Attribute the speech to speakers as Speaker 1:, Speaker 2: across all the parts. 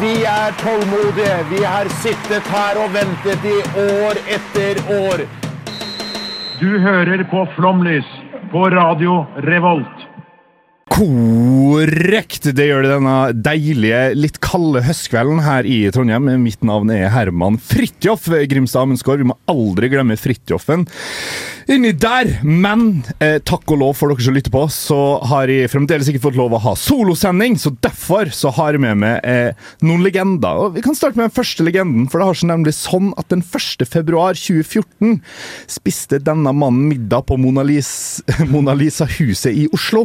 Speaker 1: Vi er tålmodige. Vi har sittet her og ventet i år etter år.
Speaker 2: Du hører på Flomlys på Radio Revolt.
Speaker 3: Korrekt! Det gjør det denne deilige, litt kalde høstkvelden her i Trondheim. Mitt navn er Herman Fridtjof Grimstad Amundsgaard. Vi må aldri glemme Fridtjofen inni der. Men eh, takk og lov for dere som lytter på, så har jeg fremdeles ikke fått lov å ha solosending. Så derfor så har jeg med meg eh, noen legender. Og vi kan starte med den første legenden, for det har seg nemlig sånn at den 1. februar 2014 spiste denne mannen middag på Mona, Lis Mona Lisa-huset i Oslo.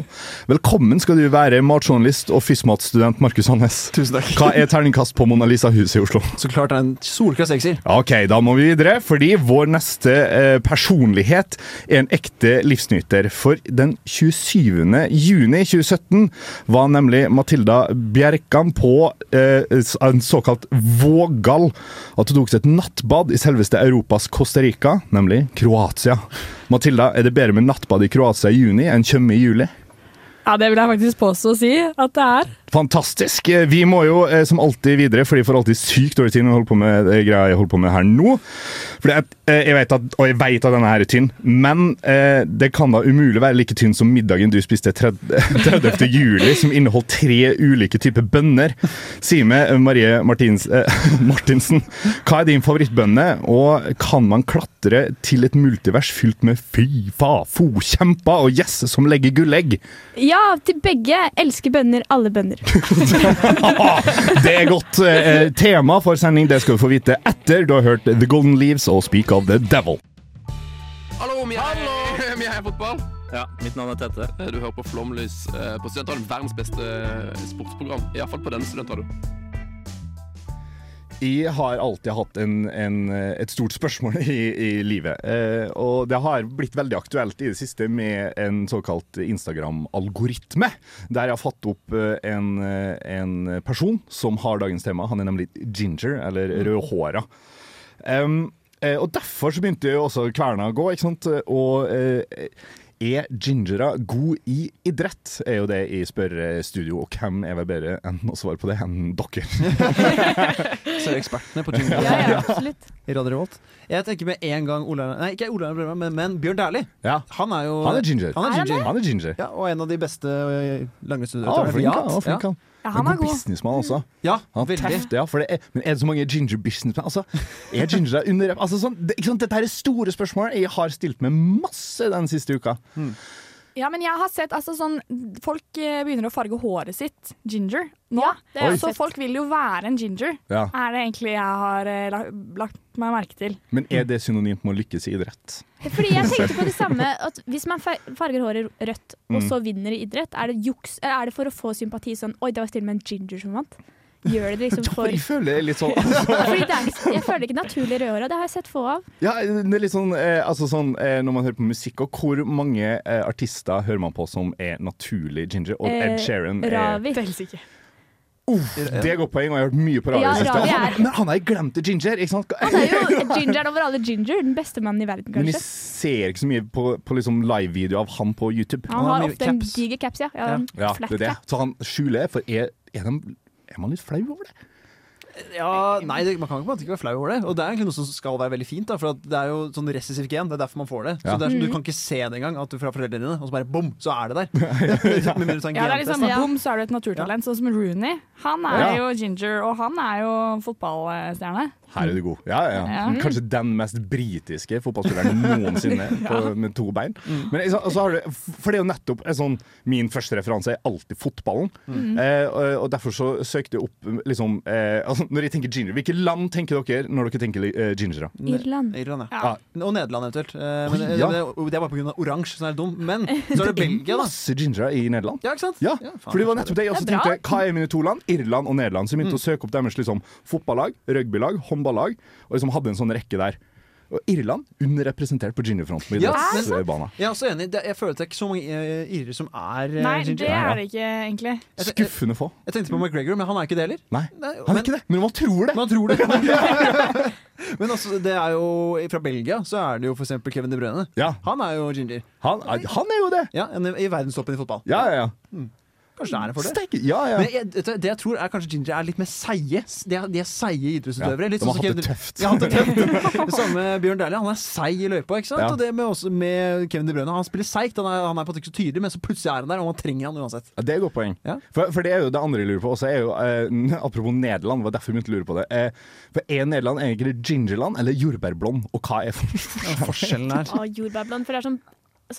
Speaker 3: Velkommen skal du være, matjournalist og fysmatstudent Markus Hannes.
Speaker 4: Tusen takk.
Speaker 3: Hva er terningkast på Mona Lisa-huset i Oslo?
Speaker 4: Så klart det er en solklar sekser.
Speaker 3: Ok, da må vi videre, fordi vår neste eh, personlighet er en ekte livsnyter. For den 27. juni 2017 var nemlig Matilda Bjerkan på eh, en såkalt vågal at hun tok seg et nattbad i selveste Europas Costa Rica, nemlig Kroatia. Matilda, er det bedre med nattbad i Kroatia i juni enn Tjøme i juli?
Speaker 5: Ja, det vil jeg faktisk påstå å si at det er.
Speaker 3: Fantastisk. Eh, Vi må jo eh, som alltid videre, for de får alltid sykt dårlig tid når vi holder på med det greia jeg holder på med her nå. Fordi at, eh, jeg vet at, og jeg vet at denne her er tynn, men eh, det kan da umulig være like tynn som middagen du spiste 30. 30. juli, som inneholdt tre ulike typer bønner. Si meg, eh, Marie Martins, eh, Martinsen, hva er din favorittbønne, og kan man klatre til et multivers fylt med fy, fa, fo, kjempa og yes som legger gullegg?
Speaker 6: Ja, til begge. Elsker bønner, alle bønner.
Speaker 3: Det er godt eh, tema for sending. Det skal du få vite etter du har hørt The Golden Leaves og Speak of the Devil.
Speaker 7: Hallo, vi er, vi er fotball. Ja, Mitt navn er Tette. Du hører på Flomlys eh, på Studentradioen. Verdens beste eh, sportsprogram. Iallfall på denne studentradioen.
Speaker 3: Jeg har alltid hatt en, en, et stort spørsmål i, i livet. Eh, og det har blitt veldig aktuelt i det siste med en såkalt Instagram-algoritme. Der jeg har fått opp eh, en, en person som har dagens tema. Han er nemlig ginger, eller rødhåra. Um, eh, og derfor så begynte jo også kverna å gå, ikke sant? Og eh, er gingere god i idrett? Er jo det i spørrestudio, og hvem er vel bedre enn å svare på det enn dere?
Speaker 4: Så er det ekspertene på jingle
Speaker 6: Ja, ja, absolutt.
Speaker 4: i Radio Revolt. Jeg tenker med en gang Ola, nei, ikke Ola Brødre, men, men Bjørn Dæhlie.
Speaker 3: Ja.
Speaker 4: Han er jo
Speaker 3: Han er ginger.
Speaker 4: Han er ginger.
Speaker 3: Han er ginger.
Speaker 4: Ja, og en av de beste eh,
Speaker 3: Ja, Ah,
Speaker 4: langrennsutøverne vi
Speaker 3: flink
Speaker 4: har
Speaker 3: han. Ja,
Speaker 4: hatt.
Speaker 3: flink han.
Speaker 6: Ja, han
Speaker 3: Men
Speaker 6: er god.
Speaker 3: businessmann også.
Speaker 4: Ja,
Speaker 3: Han er
Speaker 4: veldig.
Speaker 3: teft, ja, for det er, men er det så mange ginger businessmen? Altså, er gingere under altså, sånn, det, ikke sant? Dette her er store spørsmål jeg har stilt meg masse den siste uka.
Speaker 8: Ja, men jeg har sett altså sånn Folk eh, begynner å farge håret sitt ginger nå.
Speaker 6: Ja, det har jeg
Speaker 8: så
Speaker 6: sett.
Speaker 8: folk vil jo være en ginger,
Speaker 3: Ja.
Speaker 8: er det egentlig jeg har eh, la- lagt meg merke til.
Speaker 3: Men er det synonymt med å lykkes i idrett?
Speaker 6: Fordi jeg tenkte på det samme at Hvis man fa- farger håret rødt og så vinner i idrett, er det, juks, eller er det for å få sympati sånn Oi, det var stille med en ginger som vant. Gjør det liksom for
Speaker 3: Jeg føler det er litt sånn
Speaker 6: Fordi det er, ikke- Jeg føler ikke naturlig rødhåra. Det har jeg sett få av.
Speaker 3: Ja, det er litt sånn, eh, altså sånn eh, når man hører på musikk, og hvor mange eh, artister hører man på som er naturlig ginger? Og Ed Sheeran er
Speaker 6: Eh, Ravi.
Speaker 3: Uff, Det er godt poeng, og jeg har hørt mye på radio
Speaker 6: Ja,
Speaker 3: i det siste.
Speaker 6: Ravi er-
Speaker 3: Han- Men han er glemt ginger, ikke sant?
Speaker 6: Han er jo gingeren over alle ginger. Den beste mannen i verden,
Speaker 3: Men jeg
Speaker 6: kanskje.
Speaker 3: ser ikke så mye på, på liksom live-video av han på YouTube.
Speaker 6: Han
Speaker 4: Han har
Speaker 6: har
Speaker 4: mye
Speaker 6: ofte en
Speaker 4: caps.
Speaker 6: diger caps, ja. ja, en
Speaker 3: Ja,
Speaker 6: flat
Speaker 3: det er det.
Speaker 6: cap.
Speaker 3: Så han skjuler, for er, er, de, er man litt flau over det?
Speaker 4: Ja, nei, det, Man kan ikke, på en måte ikke være flau over det. Og det er egentlig noe som skal være veldig fint. Da, for at det er jo sånn resessiv gen. Det er derfor man får det.
Speaker 3: Ja. Mhm.
Speaker 4: Så det er, sånn, Du kan ikke se det engang, at du fra foreldrene dine, og så bare bom, så er det der. Med mindre du tar en
Speaker 8: Ja, det er
Speaker 4: gentest,
Speaker 8: liksom,
Speaker 4: da.
Speaker 6: Ja.
Speaker 8: Bom, så er du et naturtalent, sånn som Rooney. Han er
Speaker 3: Ja.
Speaker 8: jo ginger, og han er jo fotballstjerne.
Speaker 3: Her er du god. Ja, ja. ja.
Speaker 8: Ja.
Speaker 3: Kanskje den mest britiske fotballspilleren noensinne på, med to bein. Men så, så har du, for det er jo nettopp en sånn, Min første referanse er alltid fotballen. Eh, og, og derfor så søkte jeg opp liksom, eh, altså, Når jeg tenker ginger, hvilke land tenker dere når dere tenker eh, ginger? da?
Speaker 6: Irland.
Speaker 4: Irland, ja.
Speaker 3: Ja.
Speaker 4: Og Nederland eventuelt. Eh, Men,
Speaker 3: Oi, ja.
Speaker 4: men det- det var pga. oransje, som er dum. Men så er det Belgia, da.
Speaker 3: Masse gingere i Nederland.
Speaker 4: Ja, ikke sant?
Speaker 3: Ja,
Speaker 4: faen.
Speaker 3: for det var nettopp det jeg også
Speaker 8: Det er bra.
Speaker 3: tenkte. Hva er mine to land? Irland og
Speaker 4: Mm.
Speaker 3: Nederland. Så jeg begynte å søke opp deres liksom, fotballag, rugbylag, håndballag, og liksom hadde en sånn rekke der. Og Irland underrepresentert på gingerfronten på
Speaker 4: Ja,
Speaker 3: idrettsbanen.
Speaker 4: Jeg er også enig. Det, jeg føler at det er ikke så mange eh, irer som er eh,
Speaker 8: Nei,
Speaker 4: ginger.
Speaker 8: det er det ikke, egentlig.
Speaker 4: Jeg te-
Speaker 3: Skuffende få.
Speaker 4: Jeg tenkte på McGregor, men han er ikke det heller.
Speaker 3: Nei,
Speaker 4: Nei,
Speaker 3: han
Speaker 4: men-
Speaker 3: er ikke det, men man tror det.
Speaker 4: Man tror det. men altså, det er jo fra Belgia så er det jo for eksempel Kevin De Bruyne.
Speaker 3: Ja,
Speaker 4: Han er jo ginger.
Speaker 3: han, er- han er jo det.
Speaker 4: Ja, en, I verdenstoppen i fotball.
Speaker 3: Ja, ja, ja.
Speaker 4: Kanskje det er en fordel.
Speaker 3: Steik, ja, ja.
Speaker 4: Men jeg, vet du, det jeg tror er kanskje ginger er litt mer seige. De er, de er seige
Speaker 3: Ja,
Speaker 4: idrettsutøvere. Litt
Speaker 3: de har
Speaker 4: sånn som
Speaker 3: hatt det
Speaker 4: Kevin-
Speaker 3: tøft.
Speaker 4: Ja, hatt det tøft. Det samme Bjørn Dæhlie. Han er seig i løypa. ikke sant?
Speaker 3: Ja.
Speaker 4: Og det med, også, med Kevin De Bruyne. Han spiller seigt. Han, er- han er på en måte ikke så tydelig, men så plutselig er han der, og man trenger han uansett.
Speaker 3: Ja, det er et godt poeng.
Speaker 4: Ja.
Speaker 3: For, for det er jo det andre jeg lurer på. Også er jo, eh, apropos Nederland, det var derfor jeg begynte å lure på det. Eh, for er Nederland egentlig gingerland eller jordbærblond, og hva er forskjellen?
Speaker 4: Forskjellen her.
Speaker 6: Å, jordbærblond. For det er sånn,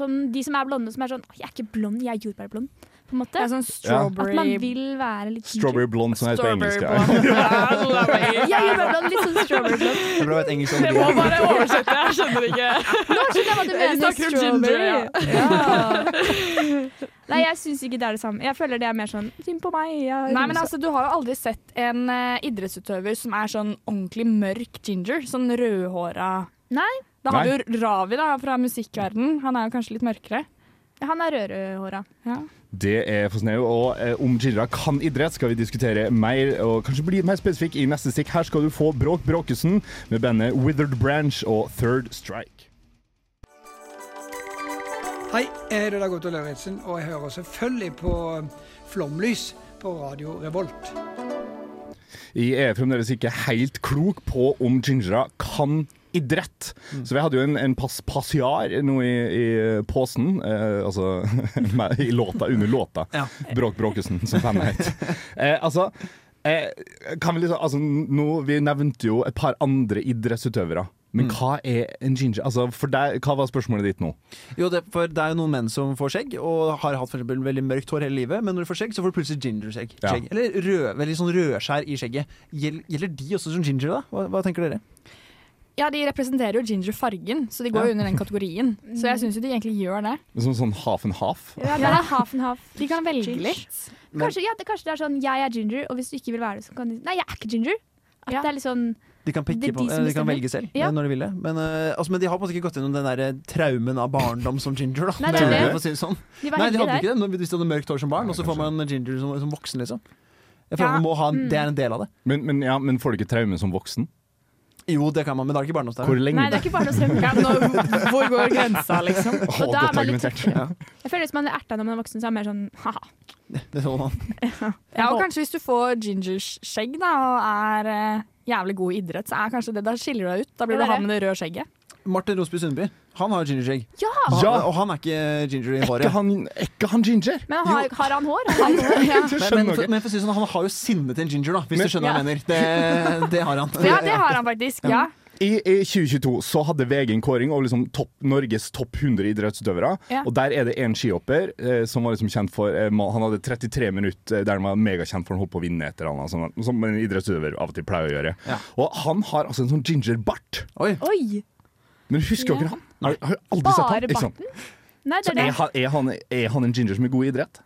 Speaker 6: sånn De som er blonde, som er sånn «Å, Jeg er ikke blond, jeg er jordbærblond. På
Speaker 8: Det
Speaker 6: en måte.
Speaker 8: er sånn
Speaker 6: At man
Speaker 8: strawberry
Speaker 6: vil være litt ginger.
Speaker 3: Strawberry blonde, som heter på
Speaker 8: Strawberry sånn
Speaker 3: engelsk. Ja.
Speaker 8: blonde.
Speaker 6: Ja, jordbærblond. Litt sånn strawberry blond.
Speaker 4: Det er bra å vite engelsk om
Speaker 5: Det
Speaker 4: det.
Speaker 5: må bare oversette, jeg skjønner ikke.
Speaker 6: Nå skjønner jeg hva du
Speaker 5: Vi
Speaker 6: mener.
Speaker 5: snakker om ginger,
Speaker 6: Strawberry.
Speaker 5: ja.
Speaker 6: Ja. Nei, jeg syns ikke det er det samme. Jeg føler det er mer sånn Synd på meg. Jeg
Speaker 8: Nei, men altså, Du har jo aldri sett en eh, idrettsutøver som er sånn ordentlig mørk ginger. Sånn rødhåra
Speaker 6: Nei.
Speaker 8: Da
Speaker 3: Nei.
Speaker 8: har vi jo Ravi da, fra musikkverden. Han er jo kanskje litt mørkere.
Speaker 6: Han er rødhåra.
Speaker 8: Ja.
Speaker 3: Det er fascinerende. Og eh, om gingere kan idrett, skal vi diskutere mer, og kanskje bli litt mer spesifikk i neste stikk. Her skal du få Bråk Bråkesen med bandet Withered Branch og Third Strike.
Speaker 9: Hei, jeg heter Dag Otto Lauritzen, og jeg hører selvfølgelig på eh, Flomlys på Radio Revolt.
Speaker 3: Jeg er E fremdeles ikke helt klok på om gingere kan idrett. Så vi hadde jo en, en pass, passiar nå i, i posen, eh, altså med- i låta, under låta.
Speaker 4: Ja.
Speaker 3: Bråk Bråkesen, som bandet het. Eh, altså, eh, kan vi liksom, altså nå, vi nevnte jo et par andre idrettsutøvere. Men hva er en ginger? Altså, for deg, hva var spørsmålet ditt nå?
Speaker 4: Jo, det, for det er jo noen menn som får skjegg, og har hatt for eksempel veldig mørkt hår hele livet, men når du får skjegg, så får du plutselig gingerskjegg.
Speaker 3: Ja.
Speaker 4: Skjegg. Eller rød, veldig sånn rødskjær i skjegget. Gjel- Gjelder de også som ginger, da? Hva, hva tenker dere?
Speaker 8: Ja, de representerer jo ginger-fargen, så de går jo under den kategorien. Så
Speaker 6: Mm.
Speaker 8: jeg syns jo de egentlig gjør det.
Speaker 3: Som sånn half and half?
Speaker 6: Ja, det er half and half.
Speaker 8: De kan velge
Speaker 6: Ginger.
Speaker 8: litt.
Speaker 4: Men-
Speaker 6: Kanskje, ja, det, kanskje det er sånn jeg er ginger, og hvis du ikke vil være det, så kan du Nei, jeg er ikke ginger. At
Speaker 8: Ja.
Speaker 6: det er litt sånn
Speaker 4: De kan, pikke
Speaker 6: Det er de
Speaker 4: på,
Speaker 6: som
Speaker 4: eh, de kan
Speaker 6: bestemmer.
Speaker 4: velge selv
Speaker 6: Ja.
Speaker 4: eh, når de vil det. Men, eh, altså, men de har på en måte ikke gått gjennom den der eh, traumen av barndom som ginger, da.
Speaker 6: Nei, det
Speaker 4: Tror
Speaker 6: er
Speaker 4: jeg,
Speaker 6: det.
Speaker 4: for å si det sånn.
Speaker 6: De var
Speaker 4: Nei, de
Speaker 6: heldige
Speaker 4: hadde
Speaker 6: der.
Speaker 4: ikke det men hvis de hadde mørkt hår som barn, og så får man ginger som, som voksen, liksom. Jeg føler
Speaker 8: Ja.
Speaker 4: man må ha,
Speaker 6: Mm.
Speaker 4: Det er en del av det.
Speaker 3: Men, men, ja, men får du ikke traume som voksen?
Speaker 4: Jo, det kan man, men da er det ikke
Speaker 3: Hvor
Speaker 4: barndomstraume.
Speaker 3: lenge?
Speaker 6: Nei, det er ikke barndomsdrøm.
Speaker 5: Ja, men nå, hvor går grensa, liksom?
Speaker 3: Å,
Speaker 6: Og da er
Speaker 3: godt
Speaker 6: man litt
Speaker 3: argumentert.
Speaker 6: Jeg føler hvis man er erta når man er voksen, så er det mer sånn ha-ha.
Speaker 4: Det er sånn.
Speaker 8: Ja, og kanskje hvis du får ginger-skjegg da, og er eh, jævlig god i idrett, så er kanskje det, da skiller du deg ut. Da blir
Speaker 6: Det
Speaker 8: du
Speaker 6: er
Speaker 8: han med det røde skjegget.
Speaker 4: Martin Rosby Sundby, han har jo gingerskjegg.
Speaker 6: Ja!
Speaker 4: Og han-
Speaker 3: Ja.
Speaker 4: Og han er ikke ginger i
Speaker 3: Er
Speaker 4: håret.
Speaker 3: ikke han, er ikke han ginger?
Speaker 6: Men har, har han hår? Har han hår?
Speaker 8: Ja.
Speaker 3: Jeg
Speaker 4: Men,
Speaker 3: skjønner
Speaker 4: men, for,
Speaker 3: ikke.
Speaker 4: men for å si det sånn, han har jo sinnet til en ginger, da, hvis
Speaker 3: Men-
Speaker 4: du skjønner hva jeg mener. Det, det har han.
Speaker 8: Ja, det har han faktisk. Ja.
Speaker 3: I, I 2022 så hadde VG en kåring over liksom topp, Norges topp 100 idrettsutøvere.
Speaker 8: Ja.
Speaker 3: Og der er det en skihopper eh, som var liksom kjent for eh, ma- Han hadde 33 minutter eh, der han var megakjent for han holdt på å vinne et eller annet, som, som en idrettsutøver av og til pleier å gjøre.
Speaker 4: Ja.
Speaker 3: Og han har altså en sånn gingerbart.
Speaker 4: Oi.
Speaker 6: Oi!
Speaker 3: Men husker dere han? Har, har jeg aldri sett han.
Speaker 6: Bare
Speaker 3: Ikke sant?
Speaker 6: barten? Nei, det
Speaker 3: Så
Speaker 6: er det.
Speaker 3: er, han, er, han, er han en ginger som er god i idrett?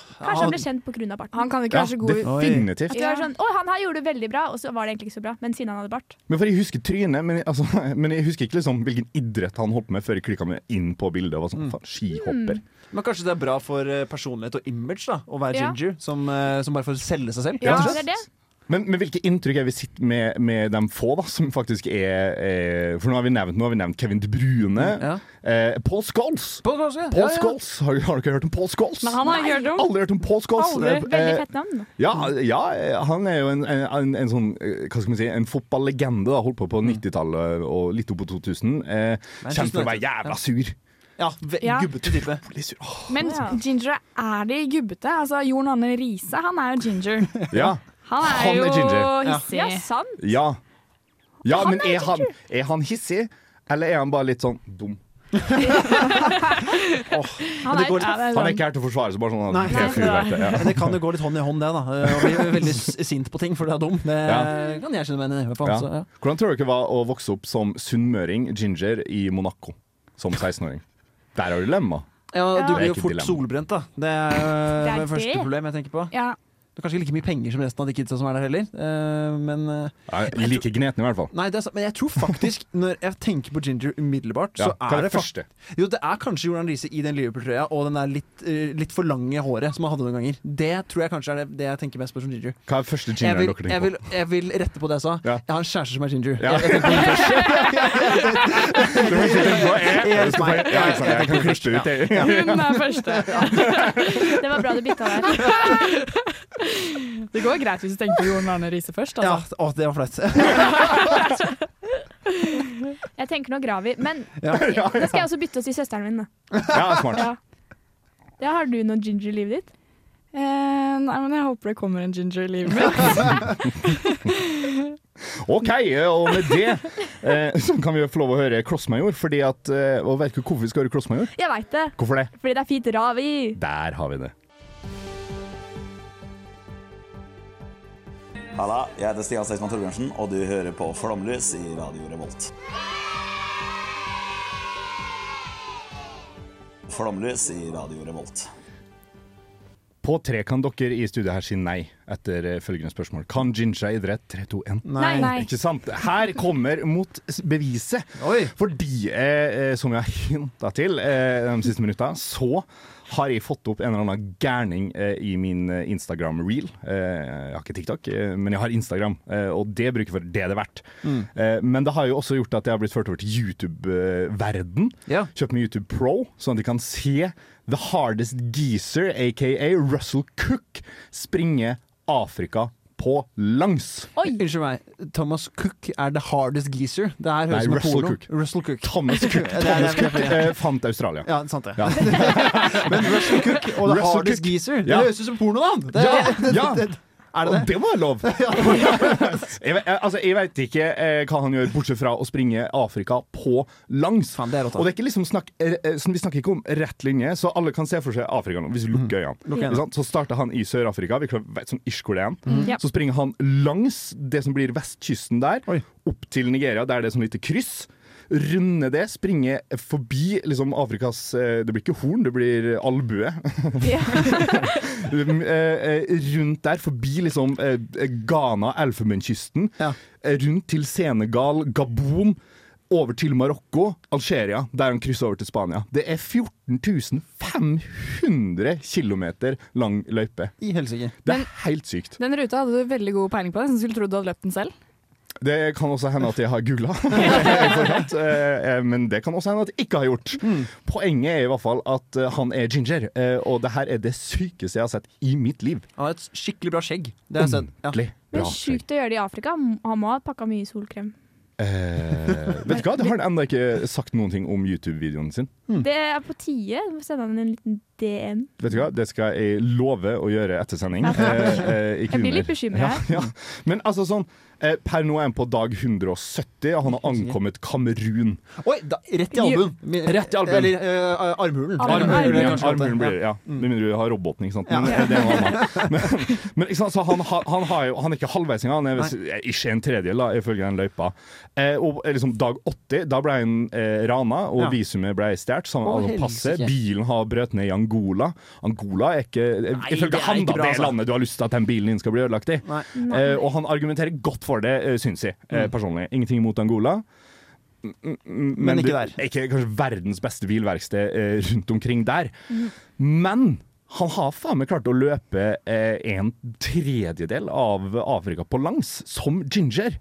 Speaker 6: Kanskje han ble kjent på grunn av barten.
Speaker 8: Han kan ikke være så god i
Speaker 4: Oi.
Speaker 3: definitivt.
Speaker 6: At du er sånn, å, han her gjorde det veldig bra, og så var det egentlig ikke så bra. Men siden han hadde bart.
Speaker 3: Men for Jeg husker trynet, men, jeg- altså, men jeg husker ikke liksom hvilken idrett han holdt med før jeg klikka meg inn på bildet. Og var sånn, faen, skihopper.
Speaker 4: Men kanskje det er bra for eh, personlighet og image da å være
Speaker 6: Ja.
Speaker 4: ginger, som, eh, som bare får selge seg selv.
Speaker 8: Ja,
Speaker 4: rett og
Speaker 6: det
Speaker 4: slett.
Speaker 6: er det.
Speaker 3: Men, men hvilke inntrykk er vi sitter med, med de få da, som faktisk er eh, For nå har vi nevnt, nå har vi nevnt Kevin De Brune.
Speaker 4: Ja.
Speaker 3: Eh, Paul Scholes!
Speaker 4: På, kanskje?
Speaker 3: Paul
Speaker 4: ja, ja.
Speaker 3: Scholes! Har, har dere hørt om Paul Scholes?
Speaker 5: Men han har jeg ikke hørt om.
Speaker 3: Aldri hørt om Paul Scholes.
Speaker 5: Aldri.
Speaker 3: Eh,
Speaker 6: Veldig
Speaker 3: eh,
Speaker 6: fett navn.
Speaker 3: ja, ja, eh, han er jo en, en, en, en sånn eh, Hva skal man si, en fotballegende. da, Holdt på på 90-tallet og litt opp på 2000. Eh,
Speaker 4: Men
Speaker 3: kjent for å være
Speaker 4: 2000, ja.
Speaker 3: jævla sur.
Speaker 4: Ja, ve-
Speaker 8: Ja.
Speaker 4: Gubbete type.
Speaker 3: Veldig sur. Åh.
Speaker 8: Men
Speaker 6: Ja.
Speaker 8: gingere er de gubbete. Altså, Jon Arne Riise, han er jo ginger.
Speaker 3: Ja,
Speaker 8: Han er,
Speaker 3: Han er
Speaker 8: jo
Speaker 3: ginger.
Speaker 8: hissig.
Speaker 6: Ja, sant.
Speaker 3: ja. ja men er han, er han hissig, eller er han bare litt sånn dum?
Speaker 6: Han
Speaker 4: det
Speaker 6: er
Speaker 4: går-
Speaker 5: Ja, det
Speaker 3: Han er
Speaker 5: sant.
Speaker 3: ikke her til å forsvare seg, bare sånn.
Speaker 4: Nei.
Speaker 3: at det er fyrverkeri, ja.
Speaker 4: Men det kan jo gå litt hånd i hånd, det. da eh, Å bli veldig s- sint på ting, for det er dum. Det
Speaker 3: Ja.
Speaker 4: kan jeg kjenne meg igjen i. hvert fall, så,
Speaker 3: Ja.
Speaker 4: ja.
Speaker 3: Hvordan tror dere det var å vokse opp som sunnmøring, ginger, i Monaco som 16-åring? Der har du lemma.
Speaker 4: ja,
Speaker 6: Ja.
Speaker 4: du
Speaker 3: Det er
Speaker 4: blir jo
Speaker 3: ikke et
Speaker 4: fort
Speaker 3: dilemma.
Speaker 4: solbrent, da. Det er, eh,
Speaker 6: Det er
Speaker 4: det første
Speaker 6: det.
Speaker 4: problem jeg tenker på.
Speaker 8: Ja.
Speaker 4: Du Det er kanskje ikke like mye penger som resten av de kidsa som er der heller. eh, men, eh,
Speaker 3: Nei, like gneten i hvert fall.
Speaker 4: nei, det er, sant, men jeg tror faktisk, når jeg tenker på Ginger umiddelbart,
Speaker 3: Ja,
Speaker 4: så
Speaker 3: hva er det
Speaker 4: fak-
Speaker 3: første?
Speaker 4: Jo, det er kanskje Jordan Riise i den Liverpool-trøya og den der litt, eh, litt for lange håret som han hadde noen ganger. Det tror jeg kanskje er det, det jeg tenker mest på som Ginger.
Speaker 3: Hva er første
Speaker 4: Jeg
Speaker 3: gingeren
Speaker 4: vil,
Speaker 3: dere
Speaker 4: jeg,
Speaker 3: tenker
Speaker 4: vil, jeg vil rette på det jeg sa.
Speaker 3: Ja.
Speaker 4: Jeg har en kjæreste som er Ginger.
Speaker 3: Ja.
Speaker 4: Jeg, jeg tenker på det først.
Speaker 3: på? Du ikke tenke på jeg,
Speaker 4: Jeg-
Speaker 3: jeg, skal bare- ja, ikke sant, jeg kan klippe ut det.
Speaker 5: Hun er første.
Speaker 6: Det var bra du bytta der.
Speaker 5: Det går greit hvis du tenker på Jon Arne Riise først.
Speaker 4: Ja,
Speaker 5: Altså.
Speaker 4: å, det var flaut.
Speaker 6: Jeg tenker nå Gravi. Men
Speaker 4: Ja.
Speaker 6: da skal jeg også bytte oss til søsteren min, da.
Speaker 3: Ja, smart.
Speaker 6: Ja. Ja, har du noe ginger i livet ditt?
Speaker 5: Eh, nei, men jeg håper det kommer en ginger i livet mitt.
Speaker 3: Ok, og med det eh, så kan vi jo få lov å høre Klossmajor, fordi at eh, Og vet du hvorfor vi skal høre Klossmajor?
Speaker 6: Jeg veit det,
Speaker 3: Hvorfor det?
Speaker 6: fordi det er fint Ravi.
Speaker 3: Der har vi det.
Speaker 10: Halla, jeg heter Stian Seksmann Torbjørnsen, og du hører på Flomlys i Radio Revolt. Flomlys i Radio Revolt.
Speaker 3: På tre kan dere i studio her si nei etter eh, følgende spørsmål. Kan ginger idrett? 3, 2, 1.
Speaker 6: Nei, nei.
Speaker 3: Ikke sant? Her kommer motbeviset.
Speaker 4: Oi.
Speaker 3: Fordi, eh, eh, som jeg har hinta til eh, de siste minutta, så har jeg fått opp en eller annen gærning eh, i min eh, Instagram-reel. Eh, jeg har ikke TikTok, eh, men jeg har Instagram, eh, og det bruker jeg for det det er verdt.
Speaker 4: Mm.
Speaker 3: Eh, men det har jo også gjort at jeg har blitt ført over til YouTube-verden.
Speaker 4: Ja.
Speaker 3: Kjøpt meg YouTube Pro, sånn at de kan se The Hardest Geezer, aka Russell Cook, springe Afrika på langs.
Speaker 4: Unnskyld meg. Thomas Cook er the hardest geezer. Det her
Speaker 3: Nei,
Speaker 4: høres ut som en
Speaker 3: Russell
Speaker 4: porno.
Speaker 3: Cook.
Speaker 4: Russell Cook.
Speaker 3: Thomas Cook,
Speaker 4: Ja, det er-
Speaker 3: Thomas
Speaker 4: det er-
Speaker 3: Cook eh, fant Australia.
Speaker 4: Ja, sant det.
Speaker 3: Ja.
Speaker 4: Men Russell Cook og the
Speaker 3: Russell
Speaker 4: hardest
Speaker 3: Cook.
Speaker 4: geezer, det
Speaker 3: Ja.
Speaker 4: høres ut som porno, da! Det,
Speaker 3: Ja, ja.
Speaker 4: det, er det
Speaker 3: Og
Speaker 4: det?
Speaker 3: det var lov! jeg, ve- altså, jeg veit ikke eh, hva han gjør, bortsett fra å springe Afrika på langs.
Speaker 4: Faen, det er rått, da.
Speaker 3: og det er ikke liksom snakk, eh, eh, sånn- vi snakker ikke om rett linje, så alle kan se for seg Afrika nå, hvis vi lukker øynene.
Speaker 4: Mm. Lukk øynene. Mm.
Speaker 3: Ikke sant? Så starter han i Sør-Afrika, vi klar- vet sånn ish hvor det er.
Speaker 6: Ja.
Speaker 3: Så springer han langs det som blir vestkysten der,
Speaker 4: Oi.
Speaker 3: opp til Nigeria, der det er sånn lite kryss. Runde det, springe forbi liksom Afrikas eh, Det blir ikke horn, det blir albue. Um, eh, eh, rundt der, forbi liksom eh, Ghana, Elfenbenskysten,
Speaker 4: Ja.
Speaker 3: eh, rundt til Senegal, Gabon, over til Marokko, Algeria, der han krysser over til Spania. Det er 14 500 km lang løype.
Speaker 4: I helsike.
Speaker 3: Det er helt sykt.
Speaker 5: Den ruta hadde du veldig god peiling på. Jeg skulle trodd du hadde løpt den selv.
Speaker 3: Det kan også hende at jeg har googla, i forkant, eh, eh, men det kan også hende at jeg ikke har gjort.
Speaker 4: Mm.
Speaker 3: Poenget er i hvert fall at eh, han er ginger, eh, og det her er det sykeste jeg har sett i mitt liv.
Speaker 4: Han har et skikkelig bra skjegg. Det
Speaker 3: Mm.
Speaker 4: har jeg sett. Ja.
Speaker 3: Ordentlig
Speaker 6: Det
Speaker 3: bra
Speaker 6: er
Speaker 3: skjegg.
Speaker 6: sjukt å gjøre det i Afrika. Han må ha pakka mye solkrem.
Speaker 3: Eh, vet du hva, det har han ennå ikke sagt noen ting om YouTube-videoen sin.
Speaker 6: Det er på tide. Du må Sende han en liten DM.
Speaker 3: Vet du hva, Det skal jeg love å gjøre etter sending. Eh, eh, ikke
Speaker 6: Jeg blir
Speaker 3: under.
Speaker 6: litt bekymra her.
Speaker 3: Ja, ja. Men altså sånn, eh, per nå er han på dag 170, og han har ankommet Kamerun.
Speaker 4: Oi, da, rett i albuen.
Speaker 3: Rett i albuen.
Speaker 4: Eller eh, armhulen.
Speaker 6: Armhulen.
Speaker 4: Armhulen,
Speaker 3: ja,
Speaker 4: kanskje.
Speaker 3: armhulen blir det, ja. Med mindre du har roboten, ikke sant.
Speaker 4: Mm. Ja.
Speaker 3: Men, eh, det er noe annet. Men, men ikke sant, så han, har- han, har jo, han er ikke halvveis engang, han er vel s- ikke en tredjedel, da, ifølge den løypa. Eh, og eh, liksom dag 80, da ble han eh, rana, og
Speaker 4: Ja.
Speaker 3: visumet ble stjålet. Så han
Speaker 4: Å,
Speaker 3: hadde passe.
Speaker 4: helsike.
Speaker 3: Bilen har brøt ned i Angola. Angola er ikke eh,
Speaker 4: det er
Speaker 3: Ifølge han,
Speaker 4: ikke
Speaker 3: da,
Speaker 4: bra,
Speaker 3: det
Speaker 4: altså.
Speaker 3: landet du har lyst til at den bilen din skal bli ødelagt i.
Speaker 4: Nei. Mm.
Speaker 3: Eh, og han argumenterer godt for det, eh, syns jeg, eh, personlig. Ingenting imot Angola. Mm, mm, mm,
Speaker 4: Men ikke
Speaker 3: du-
Speaker 4: der.
Speaker 3: er Ikke kanskje verdens beste bilverksted eh, rundt omkring der. Men han har faen meg klart å løpe eh, en tredjedel av Afrika på langs, som Ginger.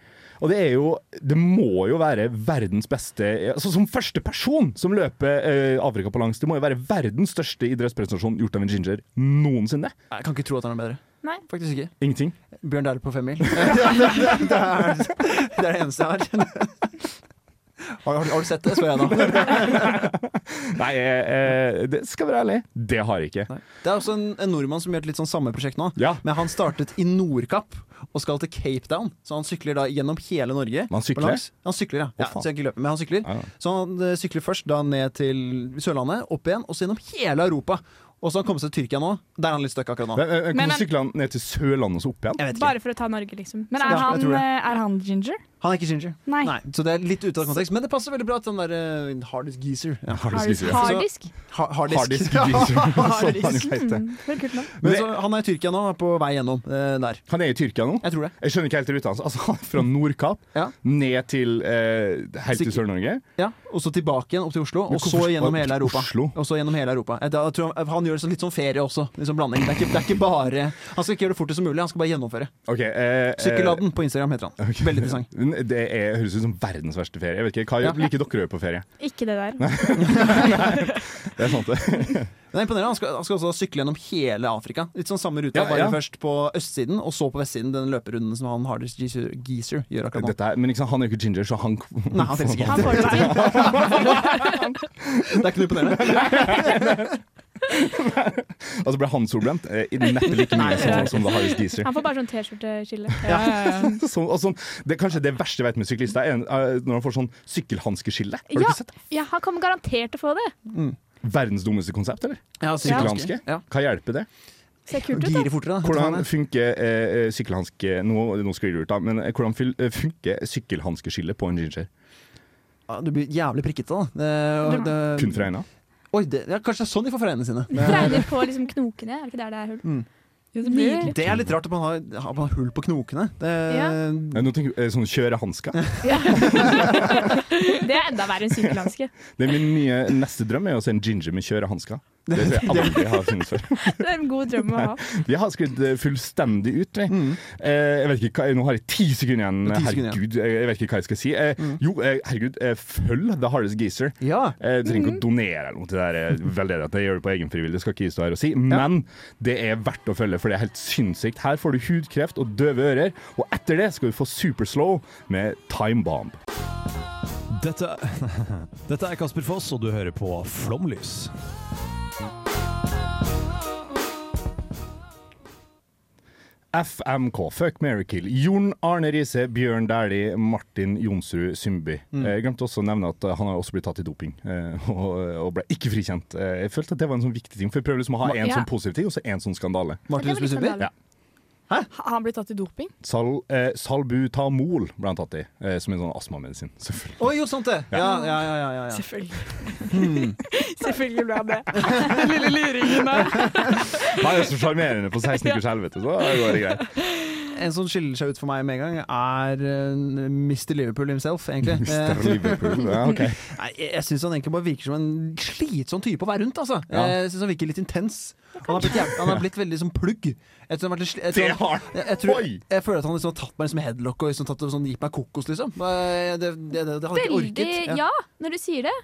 Speaker 3: Og det er jo Det må jo være verdens beste altså Som første person som løper eh, Afrika på langs, det må jo være verdens største idrettsprestasjon gjort av en Ginger noensinne.
Speaker 4: Jeg kan ikke tro at han er bedre.
Speaker 6: Nei.
Speaker 4: Faktisk ikke.
Speaker 3: Ingenting.
Speaker 4: Bjørn Dæhlie på femmil. det, er- det, er- det er det eneste jeg har. Har, har, har du sett det, spør jeg nå.
Speaker 3: Nei, eh, eh, det skal være ærlig. Det har jeg ikke.
Speaker 4: Det er også en, en nordmann som gjør et litt sånn samme prosjekt nå.
Speaker 3: Ja.
Speaker 4: Men han startet i Nordkapp og skal til Cape Town. Så han sykler da gjennom hele Norge.
Speaker 3: Men han sykler?
Speaker 4: På langs. Han sykler, ja.
Speaker 3: Å,
Speaker 4: ja
Speaker 3: faen.
Speaker 4: så jeg ikke løper, men han sykler.
Speaker 3: Ja, ja.
Speaker 4: Så han eh, sykler først da ned til Sørlandet, opp igjen, og så gjennom hele Europa. Og så har han kommet seg til Tyrkia nå. Der er han litt stuck akkurat nå.
Speaker 3: Men, eh,
Speaker 5: Men-
Speaker 3: Kan du sykle han ned til Sørlandet og så opp igjen?
Speaker 4: Jeg vet ikke.
Speaker 6: Bare for å ta Norge, liksom.
Speaker 5: Men
Speaker 4: Ja,
Speaker 5: er
Speaker 4: jeg
Speaker 5: han,
Speaker 4: tror det.
Speaker 5: eh, er han ginger?
Speaker 4: Han er ikke ginger.
Speaker 8: Nei.
Speaker 4: Så det er litt ute av kontekst. Men det passer veldig bra til den der uh, harddisk geezer. Ja.
Speaker 3: Harddisk geezer, ja.
Speaker 8: Harddisk?
Speaker 4: Ha harddisk.
Speaker 3: Harddisk geezer, som
Speaker 4: Harddisk.
Speaker 3: han jo heter. Mm,
Speaker 8: for et kult navn.
Speaker 4: Men så, han er i Tyrkia nå, er på vei gjennom eh, der.
Speaker 3: Han er i Tyrkia nå?
Speaker 4: Jeg tror det.
Speaker 3: Jeg skjønner ikke helt ruta hans. Altså, han er fra Nordkapp ned til eh, helt til
Speaker 4: Sikkert.
Speaker 3: Sør-Norge.
Speaker 4: Ja, Og så tilbake igjen opp til Oslo,
Speaker 3: Men
Speaker 4: og så
Speaker 3: hvorfor-
Speaker 4: gjennom
Speaker 3: hvorfor
Speaker 4: hele Europa. Og så gjennom hele Europa. Jeg, da, tror han, han gjør det sånn, litt sånn ferie også. Litt sånn blanding. Det er, ikke, det er ikke bare Han skal ikke gjøre det fortest som mulig, han skal bare gjennomføre.
Speaker 3: Ok, eh, eh,
Speaker 4: Sykkeladden på Instagram heter han. Veldig interessant.
Speaker 3: Det er, høres ut som verdens verste ferie. Jeg vet ikke, Hva
Speaker 4: Ja.
Speaker 3: liker dere å gjøre på ferie?
Speaker 6: Ikke det der.
Speaker 3: Det er sant, det.
Speaker 4: Det er imponerende. Han skal, han skal også sykle gjennom hele Afrika. Litt sånn samme ruta,
Speaker 3: Ja,
Speaker 4: bare
Speaker 3: ja.
Speaker 4: først på østsiden, og så på vestsiden. Den løperunden som han Hardest Geezer, Geezer gjør akkurat nå.
Speaker 3: Dette er, men ikke sant, han er jo ikke ginger, så han
Speaker 4: Nei, han finnes ikke. Han får
Speaker 6: det
Speaker 4: Det er ikke noe imponerende.
Speaker 3: Altså ble han solbrent? Eh, Neppe like mye som, som det Harris Geezer.
Speaker 6: Han får bare sånn T-skjorte-skille.
Speaker 3: Sånn- og sånn, det er kanskje det verste jeg vet med syklister, er en- eh, når han får sånn sykkelhanskeskille. Har du
Speaker 6: Ja,
Speaker 3: ikke sett det?
Speaker 6: ja, han kommer garantert til å få det.
Speaker 3: Verdens dummeste konsept, eller?
Speaker 4: Ja,
Speaker 3: Sykkelhanske? Hva hjelper det?
Speaker 6: Ser kult ut, da.
Speaker 4: fortere,
Speaker 3: Hvordan funker eh, eh, sykkelhanske Nå, nå sklir det ut, da, men eh, hvordan fyl- eh, funker sykkelhanskeskille på en ginger?
Speaker 4: Ja, du blir jævlig prikkete, da. Det, og det,
Speaker 3: Kun fra øynene?
Speaker 4: Oi, det, ja, kanskje det er sånn de får fra øynene sine.
Speaker 6: Fregner på liksom knokene. Er det ikke der det er hull?
Speaker 4: Mm.
Speaker 6: Jo, det blir
Speaker 4: Det er litt rart at man har, at man har hull på knokene. Det,
Speaker 3: Nei, Nå tenker jeg eh, sånn kjørehansker.
Speaker 6: Det er enda verre enn sykkelhanske.
Speaker 3: Det er min nye neste drøm er å se en ginger med kjørehansker. Det tror jeg aldri jeg har funnet før.
Speaker 6: Det er en god drøm å ha.
Speaker 3: Vi har sklidd eh, fullstendig ut. Vi. Eh, jeg vet ikke hva, nå har jeg ti sekunder igjen.
Speaker 4: Det er Mm. ti sekunder Mm.
Speaker 3: herregud, jeg, jeg vet ikke hva jeg skal si. Eh, Jo, eh, herregud, eh, følg The Hardest Geezer. Eh, du trenger ikke å donere eller noe til det her, eh, veldedigheten. Jeg gjør det på egen frivillig, det skal ikke jeg stå her og si. Men det er verdt å følge, for det er helt sinnssykt. Her får du hudkreft og døve ører, og etter det skal du få Superslow med Time Bomb.
Speaker 11: Dette, dette er Kasper Foss, og du hører på Flomlys.
Speaker 3: FMK, Fuck Mary Kill. Jon Arne Riise, Bjørn Dæhlie, Martin Jonsrud Sundby.
Speaker 4: Mm.
Speaker 3: Eh, Jeg glemte også å nevne at eh, han har også blitt tatt i doping, eh, og, og ble ikke frikjent. Eh, Jeg følte at det var en sånn viktig ting, for jeg prøver liksom å ha
Speaker 5: Ma-
Speaker 3: én
Speaker 5: Ja.
Speaker 3: sånn positiv ting, og så én sånn skandale.
Speaker 5: Martin Det er vel Jonsrud litt Sundby? skandale.
Speaker 3: Ja.
Speaker 5: Har han blitt tatt i doping?
Speaker 3: Sal, eh, salbutamol ble han tatt i, eh, som en sånn astmamedisin. Selvfølgelig.
Speaker 4: Oi, jo, sant det! Ja, ja, ja. ja, ja, ja.
Speaker 5: Selvfølgelig. Selvfølgelig ble han det. Den lille luringen der.
Speaker 3: Han er jo så altså, sjarmerende på 16 ukers helvete, så da går det greit.
Speaker 4: En som skiller seg ut for meg med en gang, er eh, Mr. Liverpool himself, egentlig. Eh,
Speaker 3: Mr. Liverpool, ja, ok.
Speaker 4: Nei, jeg jeg syns han egentlig bare virker som en slitsom type å være rundt, altså.
Speaker 3: Ja.
Speaker 4: Jeg syns han virker litt intens. Han har blitt, jæv- han har blitt veldig som plugg. Jeg tror han har vært litt sli- jeg tror
Speaker 3: Det har han.
Speaker 4: Jeg, jeg, tror,
Speaker 3: Oi!
Speaker 4: jeg føler at han liksom har tatt meg liksom headlock og liksom tatt, det sånn, gitt meg kokos, liksom. Eh, Det, det, det, det hadde jeg ikke
Speaker 6: Veldig
Speaker 4: orket.
Speaker 6: ja, når du sier det.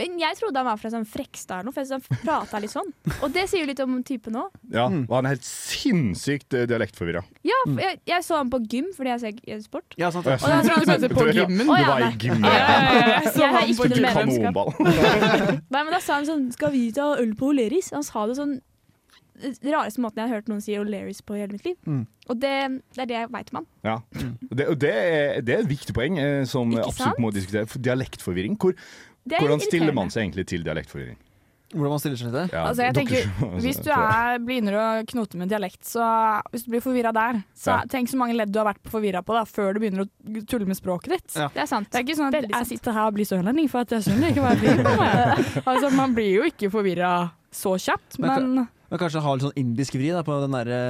Speaker 6: Men jeg trodde han var fra sånn Frekstad eller noe, for jeg synes han prata litt sånn. Og det sier jo litt om typen òg.
Speaker 3: Ja, og han er helt sinnssykt eh, dialektforvirra.
Speaker 6: Ja, for
Speaker 3: Mm.
Speaker 6: jeg, jeg så han på gym fordi jeg ser jeg sport.
Speaker 4: Ja, sant.
Speaker 6: Og da tror jeg han sånn-
Speaker 3: Du vet, ja,
Speaker 6: Å,
Speaker 3: Du
Speaker 6: ja,
Speaker 3: var i
Speaker 6: nei.
Speaker 3: gymmen.
Speaker 6: Ja, ja, ja, ja. Jeg så
Speaker 3: Jeg
Speaker 6: han
Speaker 3: har
Speaker 6: på
Speaker 3: ikke noe
Speaker 6: gym.
Speaker 3: kanonball.
Speaker 6: Nei, men da sa han sånn Skal vi ta øl på Oleris? Han sa det sånn Den rareste måten jeg har hørt noen si Oleris på i hele mitt liv.
Speaker 3: Mm.
Speaker 6: Og det, det er det jeg veit om han.
Speaker 3: Ja. Det, og det er, det er et viktig poeng eh, som
Speaker 6: Ikke
Speaker 3: absolutt må diskutere. For Dialektforvirring. Hvor,
Speaker 6: Det er
Speaker 3: hvordan
Speaker 6: irriterende.
Speaker 3: stiller man seg egentlig til dialektforvirring?
Speaker 4: Hvordan man stiller seg til det?
Speaker 3: Ja,
Speaker 8: Altså, jeg
Speaker 3: dere
Speaker 8: tenker,
Speaker 3: som- altså,
Speaker 8: hvis du
Speaker 3: så-
Speaker 8: er, begynner å knote med dialekt, så hvis du blir forvirra der, så
Speaker 3: Ja.
Speaker 8: tenk så mange ledd du har vært forvirra på da, før du begynner å tulle med språket ditt.
Speaker 4: Ja.
Speaker 6: Det er sant.
Speaker 8: Det er ikke sånn at
Speaker 6: Veldig sant.
Speaker 8: jeg sitter her og blir sørlending for at jeg skjønner ikke hva jeg driver med. altså, man blir jo ikke forvirra så kjapt, men
Speaker 4: Men, ka- men kanskje ha litt sånn indisk vri da, på den derre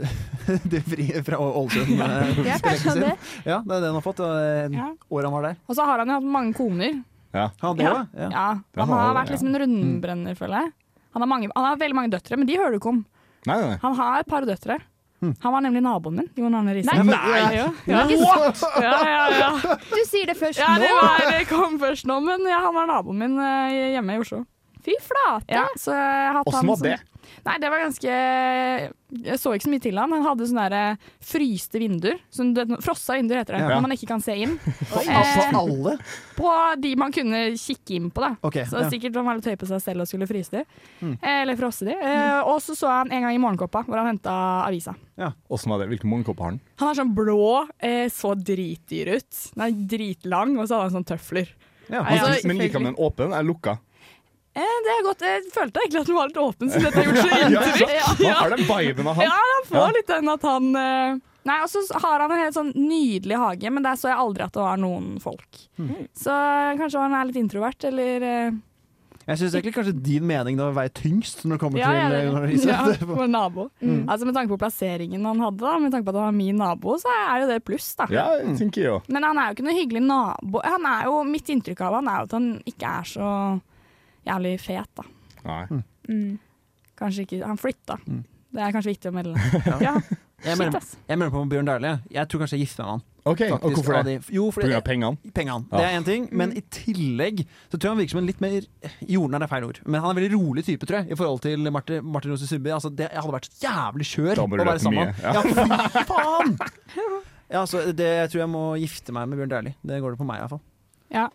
Speaker 4: Det vriet fra Å- Ålesund.
Speaker 8: Ja,
Speaker 4: eh,
Speaker 8: det er kanskje
Speaker 4: dialekten sin.
Speaker 8: det.
Speaker 4: Ja, det er det han har fått. Og,
Speaker 8: Ja.
Speaker 4: Året han var der.
Speaker 8: Og så har han jo hatt mange koner.
Speaker 3: Ja.
Speaker 4: Han
Speaker 8: Ja.
Speaker 4: ja.
Speaker 8: Ja.
Speaker 4: Det har
Speaker 8: Han har
Speaker 4: han,
Speaker 8: vært
Speaker 4: ja.
Speaker 8: liksom en rundbrenner, føler jeg. Han har, mange, han har veldig mange døtre, men de hører du ikke om.
Speaker 3: Nei, nei, nei.
Speaker 8: Han har et par døtre. Han var nemlig naboen min. Jon Arne Riise.
Speaker 3: Nei! Nei!
Speaker 8: Ja, ja.
Speaker 3: What?!
Speaker 8: Ja, ja, ja.
Speaker 6: Du sier det først
Speaker 8: Ja,
Speaker 6: nå.
Speaker 8: det, var, det kom først nå, men ja, han var naboen min eh, hjemme i Oslo.
Speaker 6: Fy flate!
Speaker 8: Ja, så jeg har hatt
Speaker 6: Åssen
Speaker 8: han
Speaker 6: var
Speaker 8: som-
Speaker 6: det?
Speaker 8: Nei, det var ganske Jeg så ikke så mye til han. Han hadde sånne der, eh, fryste vinduer. Sånn, du vet, frossa vinduer heter det,
Speaker 4: Ja.
Speaker 8: når man ikke kan se inn. Eh,
Speaker 4: Altså alle?
Speaker 8: På de man kunne kikke inn på, da.
Speaker 4: Ok,
Speaker 8: så
Speaker 4: ja.
Speaker 8: sikkert han var litt høy på seg selv og skulle fryse de.
Speaker 3: Mm.
Speaker 8: Eh, Eller frosse de. Eh, Og så så jeg han en gang i Morgenkåpa, hvor han henta avisa.
Speaker 3: Åssen var det? Hvilken morgenkåpe har han?
Speaker 8: Han har sånn blå, eh, så dritdyr ut. Han er dritlang, og så hadde han sånn tøfler. Altså,
Speaker 3: Men- men gikk han
Speaker 8: selvfølgelig-
Speaker 3: den åpen eller lukka?
Speaker 8: Eh, det er godt. Jeg følte egentlig at den var litt åpen, så dette har gjort så
Speaker 3: Ja,
Speaker 8: inntrykk.
Speaker 3: ja. Hva er den viben av han?
Speaker 8: Ja, han får
Speaker 3: Ja.
Speaker 8: litt den at han eh, Nei, Og så har han en helt sånn nydelig hage, men der så jeg aldri at det var noen folk.
Speaker 3: Hmm.
Speaker 8: Så eh, kanskje han er litt introvert, eller eh,
Speaker 4: Jeg syns egentlig kanskje din mening da veier tyngst når det kommer
Speaker 8: Ja, jeg
Speaker 4: til
Speaker 8: er
Speaker 4: Mona
Speaker 8: enig.
Speaker 4: Lisa.
Speaker 8: ja, vår nabo.
Speaker 3: Hmm.
Speaker 4: Mm.
Speaker 8: Altså Med tanke på plasseringen han hadde, da, med tanke på at han var min nabo, så er jo det pluss, da.
Speaker 3: Ja, jeg tenker jeg òg.
Speaker 8: Men han er jo ikke noe hyggelig nabo. Han er jo, mitt inntrykk av han er jo at han ikke er så jævlig fet, da.
Speaker 3: Nei.
Speaker 6: Mm.
Speaker 8: Kanskje ikke Han flytta. Det er kanskje viktig å melde.
Speaker 4: Ja.
Speaker 8: Ja.
Speaker 4: Jeg
Speaker 8: Shit,
Speaker 4: melder,
Speaker 8: ass.
Speaker 4: jeg melder på med Bjørn Dæhlie. Jeg tror kanskje jeg gifter meg med han.
Speaker 3: Ok, og
Speaker 4: Faktisk,
Speaker 3: hvorfor
Speaker 4: av
Speaker 3: det?
Speaker 4: de- Jo, fordi-
Speaker 3: På grunn av pengene?
Speaker 4: Pengene.
Speaker 3: Ja.
Speaker 4: Det er én ting. Men i tillegg så tror jeg han virker som en litt mer Jorden er feil ord, men han er en veldig rolig type, tror jeg, i forhold til Martin, Martin Rose Sundby. Altså, det jeg hadde vært så jævlig kjør
Speaker 3: Da må du
Speaker 4: å være
Speaker 3: løpe
Speaker 4: sammen med
Speaker 3: mye,
Speaker 4: han.
Speaker 3: ja.
Speaker 4: Ja, fy faen! Ja, så det, jeg tror jeg må gifte meg med Bjørn Dæhlie. Det går det på meg, iallfall.
Speaker 8: Ja.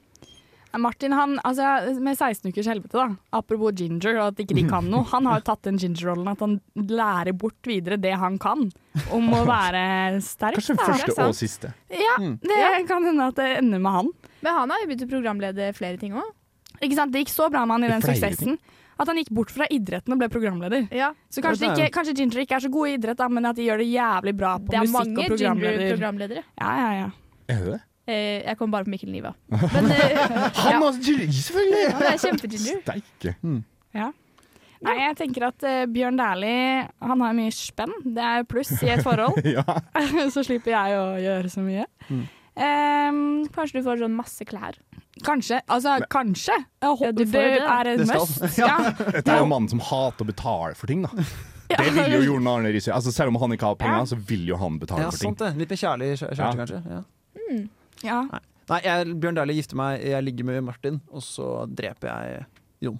Speaker 8: Martin, han, altså, med 16 ukers helvete, da, apropos ginger og at ikke de kan noe, han har jo tatt den ginger-rollen at han lærer bort videre det han kan om å være sterk.
Speaker 3: Kanskje
Speaker 8: da.
Speaker 3: første og siste.
Speaker 8: Ja,
Speaker 3: Mm.
Speaker 8: det kan hende at det ender med han.
Speaker 6: Men han har jo begynt å programlede flere ting òg.
Speaker 8: Ikke sant? Det gikk så bra med han i
Speaker 6: Det er
Speaker 8: den
Speaker 6: flere
Speaker 8: suksessen. At han gikk bort fra idretten og ble programleder. Så kanskje,
Speaker 6: Det er-
Speaker 8: ikke, kanskje Ginger ikke er så gode i idrett, da, men at de gjør det jævlig bra på
Speaker 6: Det er
Speaker 8: musikk og
Speaker 6: mange
Speaker 8: programleder.
Speaker 6: ginger-programledere.
Speaker 8: Ja, ja, ja.
Speaker 3: Er det det?
Speaker 6: Eh, jeg kom bare på Mikkel Niva. Men, eh,
Speaker 3: Han
Speaker 6: ja.
Speaker 3: har ginger, selvfølgelig!
Speaker 6: Han er kjempeginger.
Speaker 3: Steike.
Speaker 4: Mm.
Speaker 8: Ja. Nei, jeg tenker at eh, Bjørn Dæhlie han har mye spenn. Det er jo pluss i et forhold.
Speaker 3: ja.
Speaker 8: så slipper jeg å gjøre så mye.
Speaker 3: Mm.
Speaker 8: Ehm,
Speaker 6: Kanskje du får sånn masse klær.
Speaker 8: kanskje. Altså, kanskje. Jeg håper
Speaker 6: du får
Speaker 8: det,
Speaker 6: jo det, da.
Speaker 8: er
Speaker 3: Det
Speaker 8: en
Speaker 3: skal.
Speaker 8: must.
Speaker 3: Ja.
Speaker 8: Ja.
Speaker 3: Dette er jo mannen som hater å betale for ting, da. Det vil jo Jorunn Arne Riise. Altså, selv om han ikke har penger, så vil jo han betale
Speaker 4: Ja,
Speaker 3: for ting.
Speaker 4: sant det. Litt mer kjærlig kjæreste,
Speaker 3: Ja.
Speaker 4: kanskje. Ja.
Speaker 8: ja.
Speaker 4: Nei, jeg, Bjørn Dæhlie gifter meg, jeg ligger med Martin, og så dreper jeg Jon.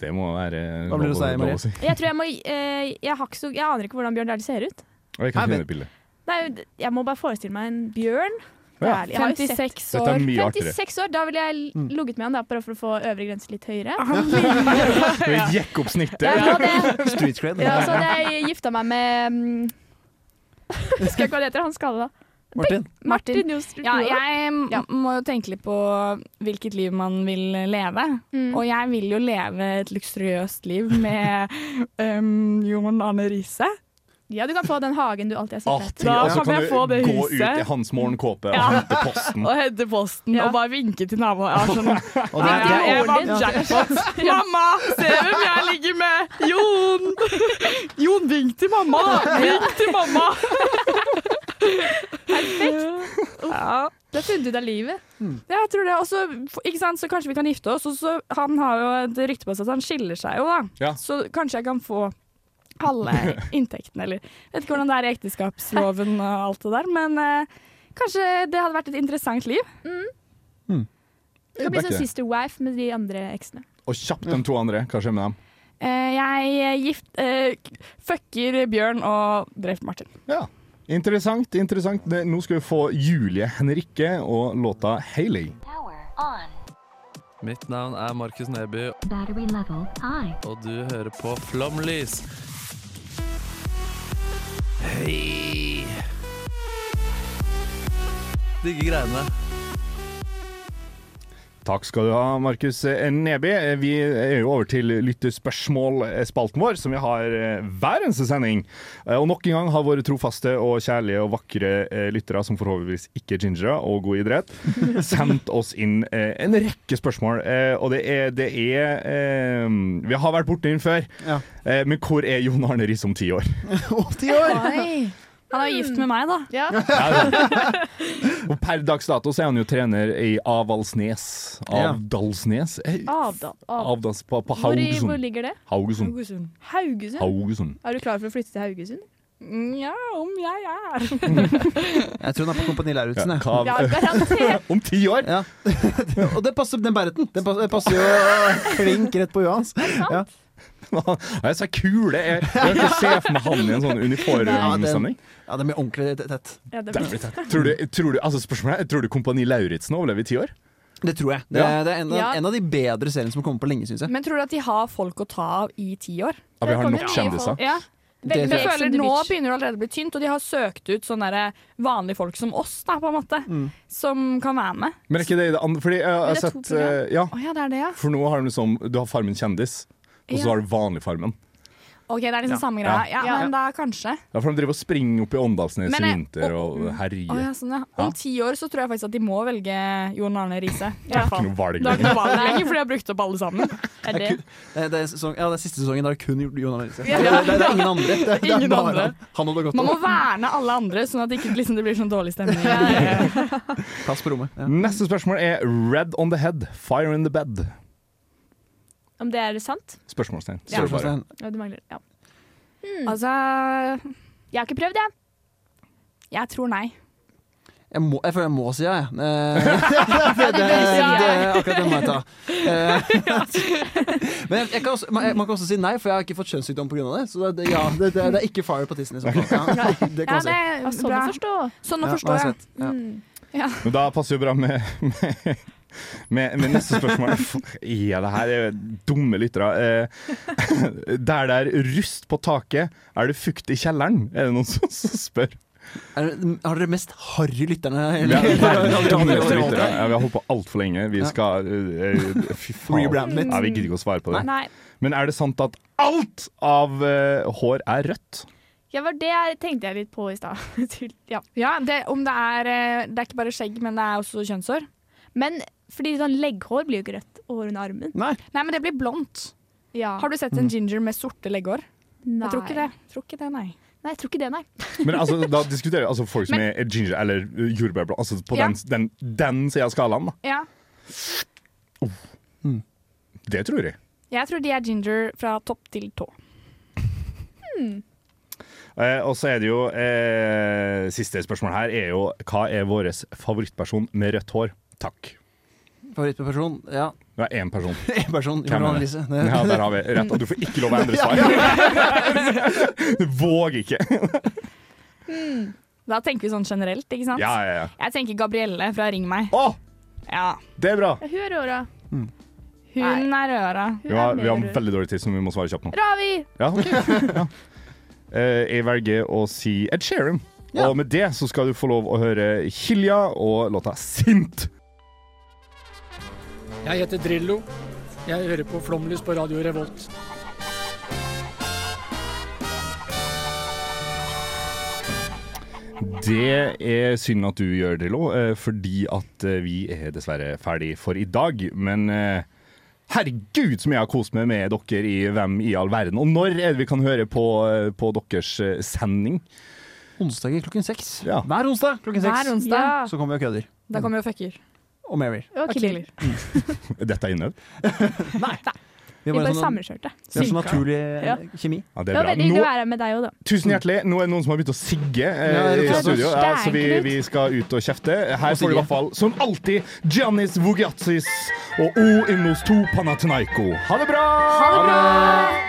Speaker 3: Det må være
Speaker 4: Hva blir det å si, Marie?
Speaker 6: Jeg tror jeg må eh, jeg, har ikke så, jeg aner ikke hvordan Bjørn Dæhlie ser ut.
Speaker 3: Og jeg kan finne et bilde.
Speaker 6: Nei, jeg må bare forestille meg en bjørn.
Speaker 3: Ja.
Speaker 6: Dæhlie. Jeg har jo sett-
Speaker 8: 56
Speaker 3: Dette er mye artigere. Mm.
Speaker 6: 56 år, Da ville jeg l- ligget med han da, bare for å få øvre grense litt høyere.
Speaker 3: Ah. Skal vi jekke opp snittet?
Speaker 6: Jeg må det.
Speaker 4: Street cred.
Speaker 6: Ja, så hadde jeg gifta meg med mm, Husker jeg ikke hva det heter, han skalla.
Speaker 4: Martin?
Speaker 6: Martin Johnsrud.
Speaker 8: Ja, jeg m- må jo tenke litt på hvilket liv man vil leve.
Speaker 6: mm.
Speaker 8: Og jeg vil jo leve et luksuriøst liv med um, Jon Arne Riise.
Speaker 6: Ja, du kan få den hagen du alltid har sett
Speaker 8: Da
Speaker 3: Ah, Og så
Speaker 8: kan jeg få det
Speaker 3: gå
Speaker 8: huset.
Speaker 3: ut i hans morgenkåpe og
Speaker 8: Ja.
Speaker 3: hente posten.
Speaker 8: Og hente posten og bare vinke til naboen. Ja, sånn.
Speaker 3: Og det-
Speaker 8: Ja, jeg
Speaker 3: det-
Speaker 8: vant jackpot. Mamma, se hvem jeg ligger med! Jon! Jon, vink til mamma! Vink til mamma! Perfekt. Ja. Mm.
Speaker 6: Da funnet du deg livet.
Speaker 8: Ja, jeg tror det. Og så- ikke sant, så kanskje vi kan gifte oss. Og så han har jo et rykte på seg at han skiller seg jo, da.
Speaker 3: Ja.
Speaker 8: Så kanskje jeg kan få halve inntekten, eller vet ikke hvordan det er i ekteskapsloven og alt det der, men eh, kanskje det hadde vært et interessant liv.
Speaker 6: Du kan bli sånn sister wife med de andre eksene.
Speaker 3: Og kjapt de to andre. Hva skjer med dem?
Speaker 8: Eh, jeg gift, eh, fucker Bjørn og dreper Martin.
Speaker 3: Ja. Interessant. interessant. Det- Nå skal vi få Julie Henrikke og låta 'Hayley'.
Speaker 7: Mitt navn er Markus Neby,
Speaker 12: Battery level high.
Speaker 7: og du hører på Flomlys. Hei! Digge greiene.
Speaker 3: Takk skal du ha, Markus Neby. Vi er jo over til lyttespørsmålspalten vår, som vi har eh, hver eneste sending. Eh, Og nok en gang har våre trofaste og kjærlige og vakre eh, lyttere, som forhåpentligvis ikke er gingere og god i idrett, sendt oss inn eh, en rekke spørsmål. Eh, Og det er, det er eh, Vi har vært borti den før, Eh, men hvor er Jon Arne Riis om ti år?
Speaker 8: Oi. Han er jo gift med meg, da.
Speaker 3: Og per dags dato så er han jo trener i Avaldsnes.
Speaker 4: Ja.
Speaker 3: Avdalsnes? Eh,
Speaker 6: Avdal. Av.
Speaker 3: Avdals på, på
Speaker 6: Hvor, i, hvor
Speaker 3: Haugesund.
Speaker 6: ligger det?
Speaker 3: Haugesund.
Speaker 6: Haugesund?
Speaker 3: Haugesund.
Speaker 6: Er du klar for å flytte til Haugesund?
Speaker 8: Mm, Ja, om jeg er.
Speaker 4: Jeg tror den er på Kompani Lauritzen. jeg.
Speaker 3: hva- Ja, garantert. Om ti år!
Speaker 4: Ja. Og det passer den bereten. Den passer, passer jo klink rett på Johans. Ja.
Speaker 3: Jeg sa kule! Jeg, jeg kan ikke se for meg han i en sånn uniformssammenheng.
Speaker 4: Ja, den blir ordentlig tett.
Speaker 6: Ja,
Speaker 3: Det blir tett. Tror du, tror du, altså spørsmålet er, tror du Kompani Lauritzen overlever i ti år?
Speaker 4: Det tror jeg. Det,
Speaker 3: Ja.
Speaker 4: er- det er en, av-
Speaker 8: Ja.
Speaker 4: en av de bedre seriene som har kommet på lenge, syns jeg.
Speaker 8: Men tror du at de har folk å ta av i ti år?
Speaker 4: Ja, vi har nok kjendiser.
Speaker 8: Ja.
Speaker 4: Det
Speaker 8: Veldig,
Speaker 4: tror
Speaker 8: jeg
Speaker 4: jeg.
Speaker 8: føler Nå begynner det allerede å bli tynt, og de har søkt ut sånne der eh, vanlige folk som oss, da, på en måte.
Speaker 3: Mm.
Speaker 8: Som kan være med.
Speaker 3: Men er ikke det det andre Fordi jeg har
Speaker 8: Eller to
Speaker 3: sett
Speaker 8: program.
Speaker 3: eh, Ja,
Speaker 8: Å ja, det er det, ja.
Speaker 3: for nå har de liksom Du har Farmen kjendis, og
Speaker 8: Ja.
Speaker 3: så har du vanlig Farmen.
Speaker 8: OK, det er
Speaker 3: Ja.
Speaker 8: liksom samme greia.
Speaker 3: Ja.
Speaker 8: Ja,
Speaker 3: Ja.
Speaker 8: men da kanskje.
Speaker 3: Ja, for de driver og springer opp i Åndalsnes
Speaker 8: Men
Speaker 3: i
Speaker 8: jeg-
Speaker 3: vinter og herjer.
Speaker 8: Å, ja, sånn, ja.
Speaker 3: Ja.
Speaker 8: Om ti år så tror jeg faktisk at de må velge Jon Arne Riise. i
Speaker 3: Det er
Speaker 8: hvert
Speaker 3: ikke
Speaker 8: fall.
Speaker 3: noe valg
Speaker 8: Det er ikke noe
Speaker 4: lenger.
Speaker 8: valg lenger, for de har brukt opp alle sammen. Er det?
Speaker 4: Eh, Det er, sesong, ja, det er siste sesongen der det kun gjorde Jon Arne Riise.
Speaker 8: Ja.
Speaker 4: Det, er- det er ingen andre. Det, er- det er
Speaker 8: Ingen
Speaker 4: bare
Speaker 8: andre.
Speaker 4: han. Han og
Speaker 8: Man
Speaker 4: Dagotto.
Speaker 8: må verne alle andre, sånn at det ikke liksom, det blir sånn dårlig stemning.
Speaker 4: Plass på rommet.
Speaker 3: Neste spørsmål er Red on the head, fire in the bed.
Speaker 6: Om det er sant?
Speaker 3: Spørsmålstegn.
Speaker 6: Ja.
Speaker 3: Står det bare.
Speaker 6: Ja, du mangler, ja.
Speaker 8: Altså
Speaker 6: Jeg har ikke prøvd, jeg.
Speaker 8: Jeg tror nei.
Speaker 4: Jeg, må, jeg føler jeg må si ja, jeg. Eh, det, det, det, akkurat den må jeg ta. Eh, men jeg kan også, man, man kan også si nei, for jeg har ikke fått kjønnssykdom pga. det. Så det, ja, det, det, det er ikke fire på tissen. i så fall. Ja, det kan man si.
Speaker 6: Ja,
Speaker 8: Altså,
Speaker 6: sånn å forstå.
Speaker 8: Sånn
Speaker 4: å Ja, forstå, nei, ja. sant. Ja.
Speaker 8: ja.
Speaker 3: Men da passer jo bra med, med, med, med neste spørsmål. F- Ja, det her er jo dumme lyttere. Eh, der det er rust på taket, er det fukt i kjelleren? Er det noen som, som spør?
Speaker 4: Er, det- har dere mest harry lytterne?
Speaker 3: Vi
Speaker 4: eller?
Speaker 3: er verdens dummeste lyttere. Ja, vi har holdt på altfor lenge. Vi skal eh, Fy faen.
Speaker 4: Rebrand litt.
Speaker 3: Nei, vi gidder ikke å svare på det.
Speaker 6: Nei.
Speaker 3: Men er det sant at alt av eh, hår er rødt?
Speaker 6: Ja, var det jeg tenkte jeg litt på i stad. Til- ja.
Speaker 8: det, om det er eh, Det er ikke bare skjegg, men det er også kjønnshår.
Speaker 6: Men fordi sånn legghår blir jo ikke rødt og hår under armen.
Speaker 4: Nei.
Speaker 8: men det blir blondt.
Speaker 6: Ja.
Speaker 8: Har du sett
Speaker 3: Mm.
Speaker 8: en ginger med sorte legghår?
Speaker 6: Nei.
Speaker 8: Jeg tror ikke det. Tror ikke det, nei.
Speaker 6: Nei, jeg tror ikke det, nei.
Speaker 3: Men altså, da diskuterer vi altså, folk som
Speaker 8: Men-
Speaker 3: er ginger eller eh, jordbærblå. Altså på
Speaker 8: Ja.
Speaker 3: den, den, den sida av skalaen, da.
Speaker 8: Ja.
Speaker 3: Det tror jeg.
Speaker 8: Jeg tror de er ginger fra topp til tå.
Speaker 3: Eh, og så er det jo eh, Siste spørsmål her er jo hva er vår favorittperson med rødt hår? Takk.
Speaker 4: Favorittperson? Ja.
Speaker 3: Det er én person.
Speaker 4: En person.
Speaker 3: Hvem
Speaker 4: Jon
Speaker 3: er
Speaker 4: Arne
Speaker 3: det?
Speaker 4: Riise. Det-
Speaker 3: Ja, der har vi rett. Og du får ikke lov å endre svar. Du våger ikke.
Speaker 8: Da tenker vi sånn generelt, ikke sant?
Speaker 3: Ja, ja, ja.
Speaker 8: Jeg tenker Gabrielle fra Ring meg.
Speaker 3: Å!
Speaker 8: Ja.
Speaker 3: Det er bra.
Speaker 6: Hun er røra.
Speaker 8: Hun er røra.
Speaker 3: Vi har, Mm. vi har veldig dårlig tid, så vi må svare kjapt nå.
Speaker 6: Ravi!
Speaker 3: Ja, ok. ja. Eh, jeg velger å si Ed Sheeran. Og med det så skal du få lov å høre Hilja og låta 'Sint'.
Speaker 9: Jeg heter Drillo. Jeg hører på Flomlys på Radio Revolt.
Speaker 3: Det er synd at du gjør det, Drillo, eh, fordi at eh, vi er dessverre ferdig for i dag. Men eh, herregud som jeg har kost meg med dere i Hvem i all verden. Og når er det vi kan høre på, eh, på deres eh, sending?
Speaker 4: Onsdager klokken seks.
Speaker 3: Ja.
Speaker 4: Hver onsdag klokken seks.
Speaker 8: Hver onsdag. Ja.
Speaker 4: Så kommer vi og kødder.
Speaker 8: Da kommer jo fucker.
Speaker 4: Og Mary.
Speaker 8: Og killer.
Speaker 3: Dette er innøvd?
Speaker 6: Vi bare sammenkjørte.
Speaker 4: sånn- Vi har så naturlig eh,
Speaker 6: Ja.
Speaker 4: kjemi.
Speaker 3: Ja,
Speaker 6: Det
Speaker 3: det er
Speaker 6: var
Speaker 3: bra.
Speaker 6: veldig hyggelig
Speaker 3: Nå,
Speaker 6: å være her med deg òg, da.
Speaker 3: tusen hjertelig. Nå er det noen som har begynt å sigge
Speaker 4: Ja,
Speaker 3: eh,
Speaker 4: det
Speaker 3: i
Speaker 4: er det.
Speaker 3: studio, ja, så vi,
Speaker 4: Stænkelig.
Speaker 3: vi skal ut og kjefte. Her får du i
Speaker 4: sigge.
Speaker 3: hvert fall, som alltid, Giannis Vugiatsis og O Imnos 2 Panathenaiko. Ha det bra!
Speaker 4: Ha det bra!